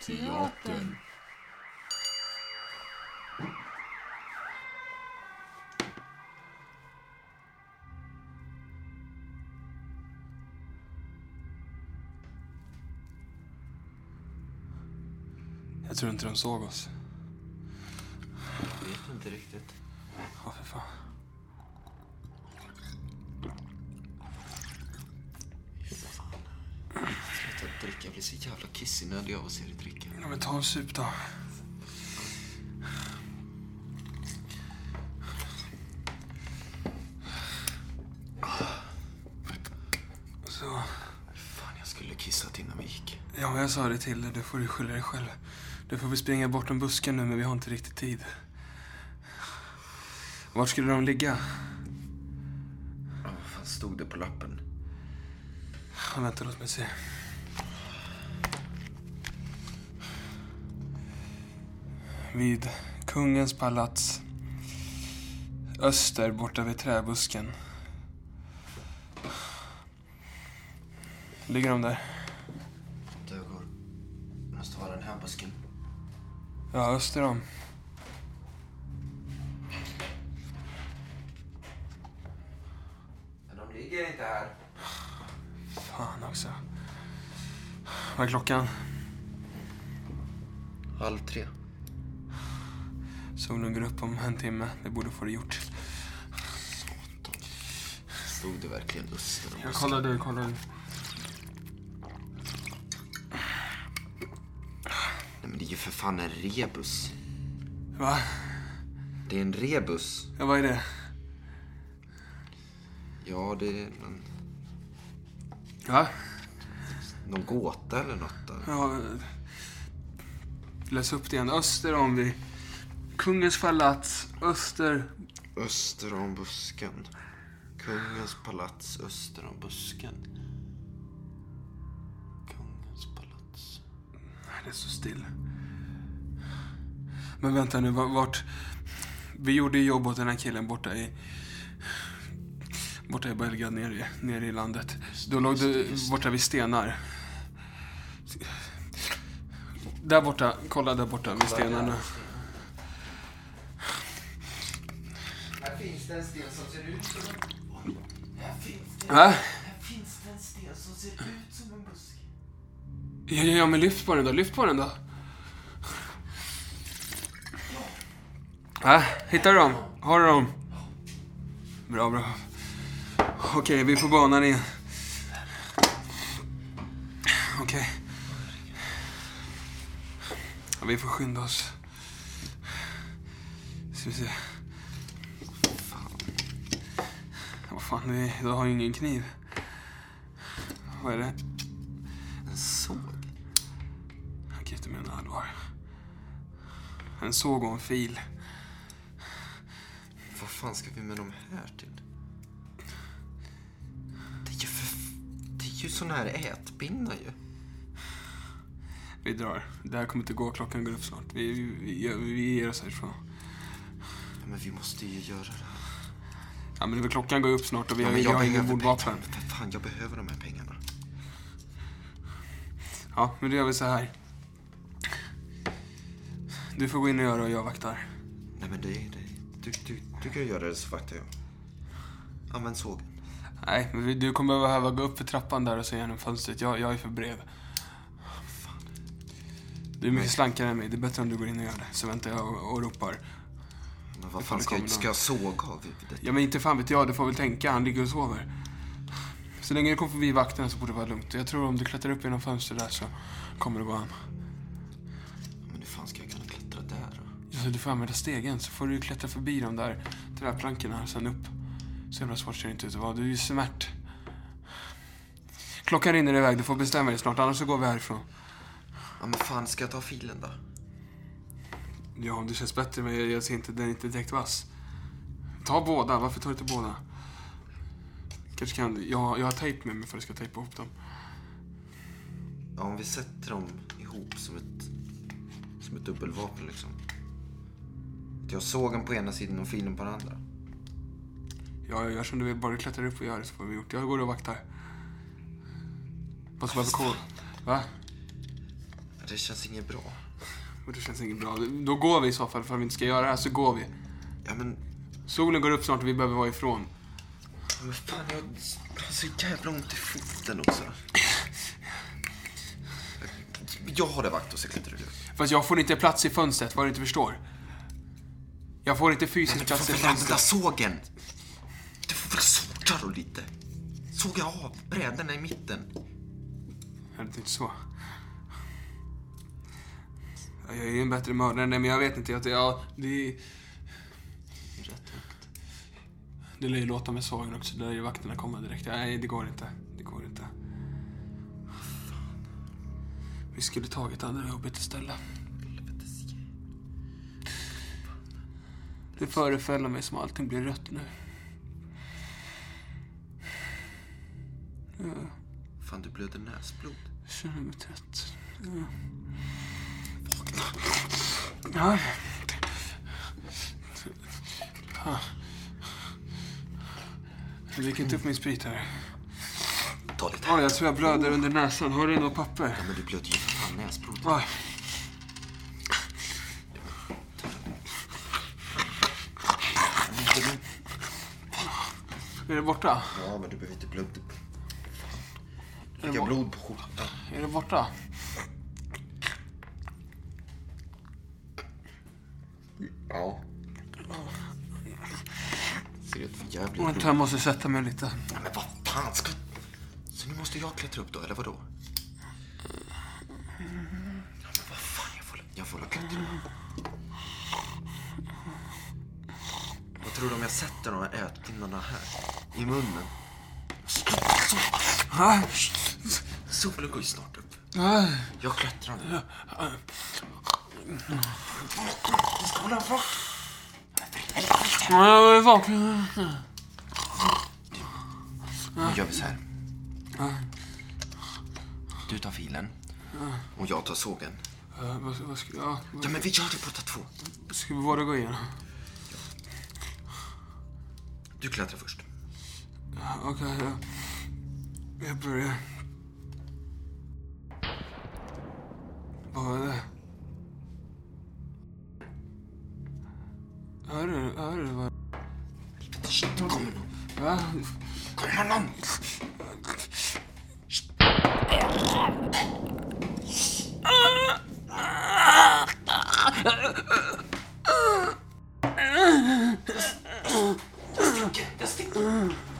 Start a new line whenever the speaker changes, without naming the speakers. Teatern.
Jag tror inte de såg oss.
Jag vet inte riktigt.
Ja, för fan.
Sluta dricka, jag blir så jävla kissnödig av att se dig dricka.
Ja, men ta en sup då. Så.
Fan, jag skulle kissat innan vi gick.
Ja, men jag sa det till dig. Du får du skylla dig själv. Du får vi springa bortom busken nu, men vi har inte riktigt tid. Vart skulle de ligga?
Ja, vad fan stod det på lappen?
Ja, Vänta, låt mig se. Vid kungens palats. Öster borta vid träbusken. Ligger de där?
Dugor. Måste vara den här busken.
Ja, öster om.
Men de ligger inte här.
Fan också. Vad är klockan?
Halv tre.
Solen går upp om en timme. Det borde få det gjort.
Stod det verkligen öster om
Jag
busken?
kollar du, kollar du.
Nej, men det är ju för fan en rebus.
Va?
Det är en rebus.
Ja, vad är det?
Ja, det är någon,
Va?
någon gåta eller något. Där.
Ja, läs upp det igen. Öster om vi. Kungens palats, öster.
Öster om busken. Kungens palats öster om busken. Kungens palats.
Nej, Det står still. Men vänta nu, va- vart... Vi gjorde ju jobb åt den här killen borta i... Borta i Belgrad, nere, i- nere i landet. Då låg du borta vid stenar. Där borta, kolla där borta vid stenarna.
Här finns det en sten som ser ut som en... Här finns det,
Va?
här finns det en sten som ser ut som en buske.
Ja, ja, ja, men lyft på den då, lyft på den då. Va? Äh, Hittar du dem? Har du dem? Bra, bra. Okej, vi får banan igen. Okej. Ja, vi får skynda oss. Ska vi se. Vad fan, vi, du har ju ingen kniv. Vad är det?
En såg?
Han kan inte mena allvar. En såg och en fil.
Vad fan ska vi med dem här till? Det är ju för... Det är ju sån här ätpinnar ju.
Vi drar. Det här kommer inte gå. Klockan går upp snart. Vi, vi, vi- vi ger oss härifrån.
Ja, men vi måste ju göra det här.
Ja, men det är väl klockan går upp snart och vi,
ja,
har-
men
vi har inga
behöver
mordvapen.
pengarna. För fan, jag behöver de här pengarna.
Ja, men då gör vi så här. Du får gå in och göra och jag vaktar.
Nej men det är det. Du, du, du kan göra det så vaktar jag. Använd sågen.
Nej, men vi- du kommer behöva gå upp för trappan där och se genom fönstret. Jag, jag är för bred. Du är mycket slankare än mig. Det är bättre om du går in och gör det. Så väntar jag och, och ropar.
Men vad
fan
fan ska,
kommer
jag-
någon.
ska jag såga av huvudet?
Ja men inte fan vet jag, du får väl tänka. Han ligger och sover. Så länge du kommer förbi vakterna så borde det vara lugnt. Jag tror om du klättrar upp genom fönstret där så kommer det gå an.
Men hur fan ska jag kunna klättra där då?
Så du får använda stegen så får du klättra förbi de där träplankorna och sen upp. Så jävla svårt ser det inte ut att vara. Du är ju smärt. Klockan rinner iväg, du får bestämma dig snart annars så går vi härifrån.
Ja men fan, ska jag ta filen då?
Ja, om det känns bättre men jag, jag ser inte, den är inte direkt vass. Ta båda, varför tar du inte båda? Kanske kan, jag, jag har tejp med mig för att jag ska tejpa ihop dem.
Ja, om vi sätter dem ihop som ett, som ett dubbelvapen liksom. Att jag såg den på ena sidan och filen på den andra.
Ja, jag gör som du vill. Bara du klättrar upp och gör det så får vi gjort. Jag går och vaktar. Vad ska vi ha för kod? Va?
Det det känns inget bra.
Och det känns inget bra. Då går vi i så fall, för vi inte ska göra det här så går vi.
Ja men,
Solen går upp snart och vi behöver vara ifrån.
ja, men fan jag har så jävla ont i foten också. Jag har det vakt och cyklar inte du.
Fast jag får inte plats i fönstret, vad du inte förstår. Jag får inte fysisk
Men du
plats
får
i
väl använda
fönstret.
sågen? Du får väl såga då lite? Såga av brädorna i mitten.
Jag hade tänkt så. Ja, Jag är ju en bättre mördare, nej men jag vet inte. Jag, jag, det, det lär ju låta med sågen också, det lär ju vakterna komma direkt. Nej, det går inte. Det går inte. Vi skulle tagit andra jobbet istället. Det förefaller mig som allting blir rött nu. Ja.
Fan du blöder näsblod.
Jag känner mig trött. Ja. Vakna. Ja. Fan. Jag dricker inte upp min sprit här.
Ta lite.
Oj, jag tror jag blöder under näsan. Har du något papper?
Ja men du blöder ju för fan näsblod.
Oj. Är det borta?
Ja men du behöver inte blöda.
Är det,
Jag har
bo-
blod på skjortan.
är det borta?
Ja. Ser ut för jävligt ut.
Vänta, jag måste sätta mig lite.
Ja, Men vad fan ska... Så nu måste jag klättra upp då, eller vadå? Ja, men vad fan, jag får, jag får väl klättra upp. Vad tror du om jag sätter de här ätpinnarna här? I munnen?
Ah.
Solen går ju snart upp.
Ah.
Jag klättrar nu.
Jag är vaken.
Nu gör vi så här. Du tar filen. Och jag tar sågen.
Eh, Vad, vad ska jag...
Ja, men vi gör det båda två.
Ska vi bara gå igenom?
Du klättrar först.
Okej, ja. Jag börjar. Vad är det? Hör du? Hör du? Vad...
Shit, Kommer någon?
Va?
Kommer någon? Jag sticker, jag sticker.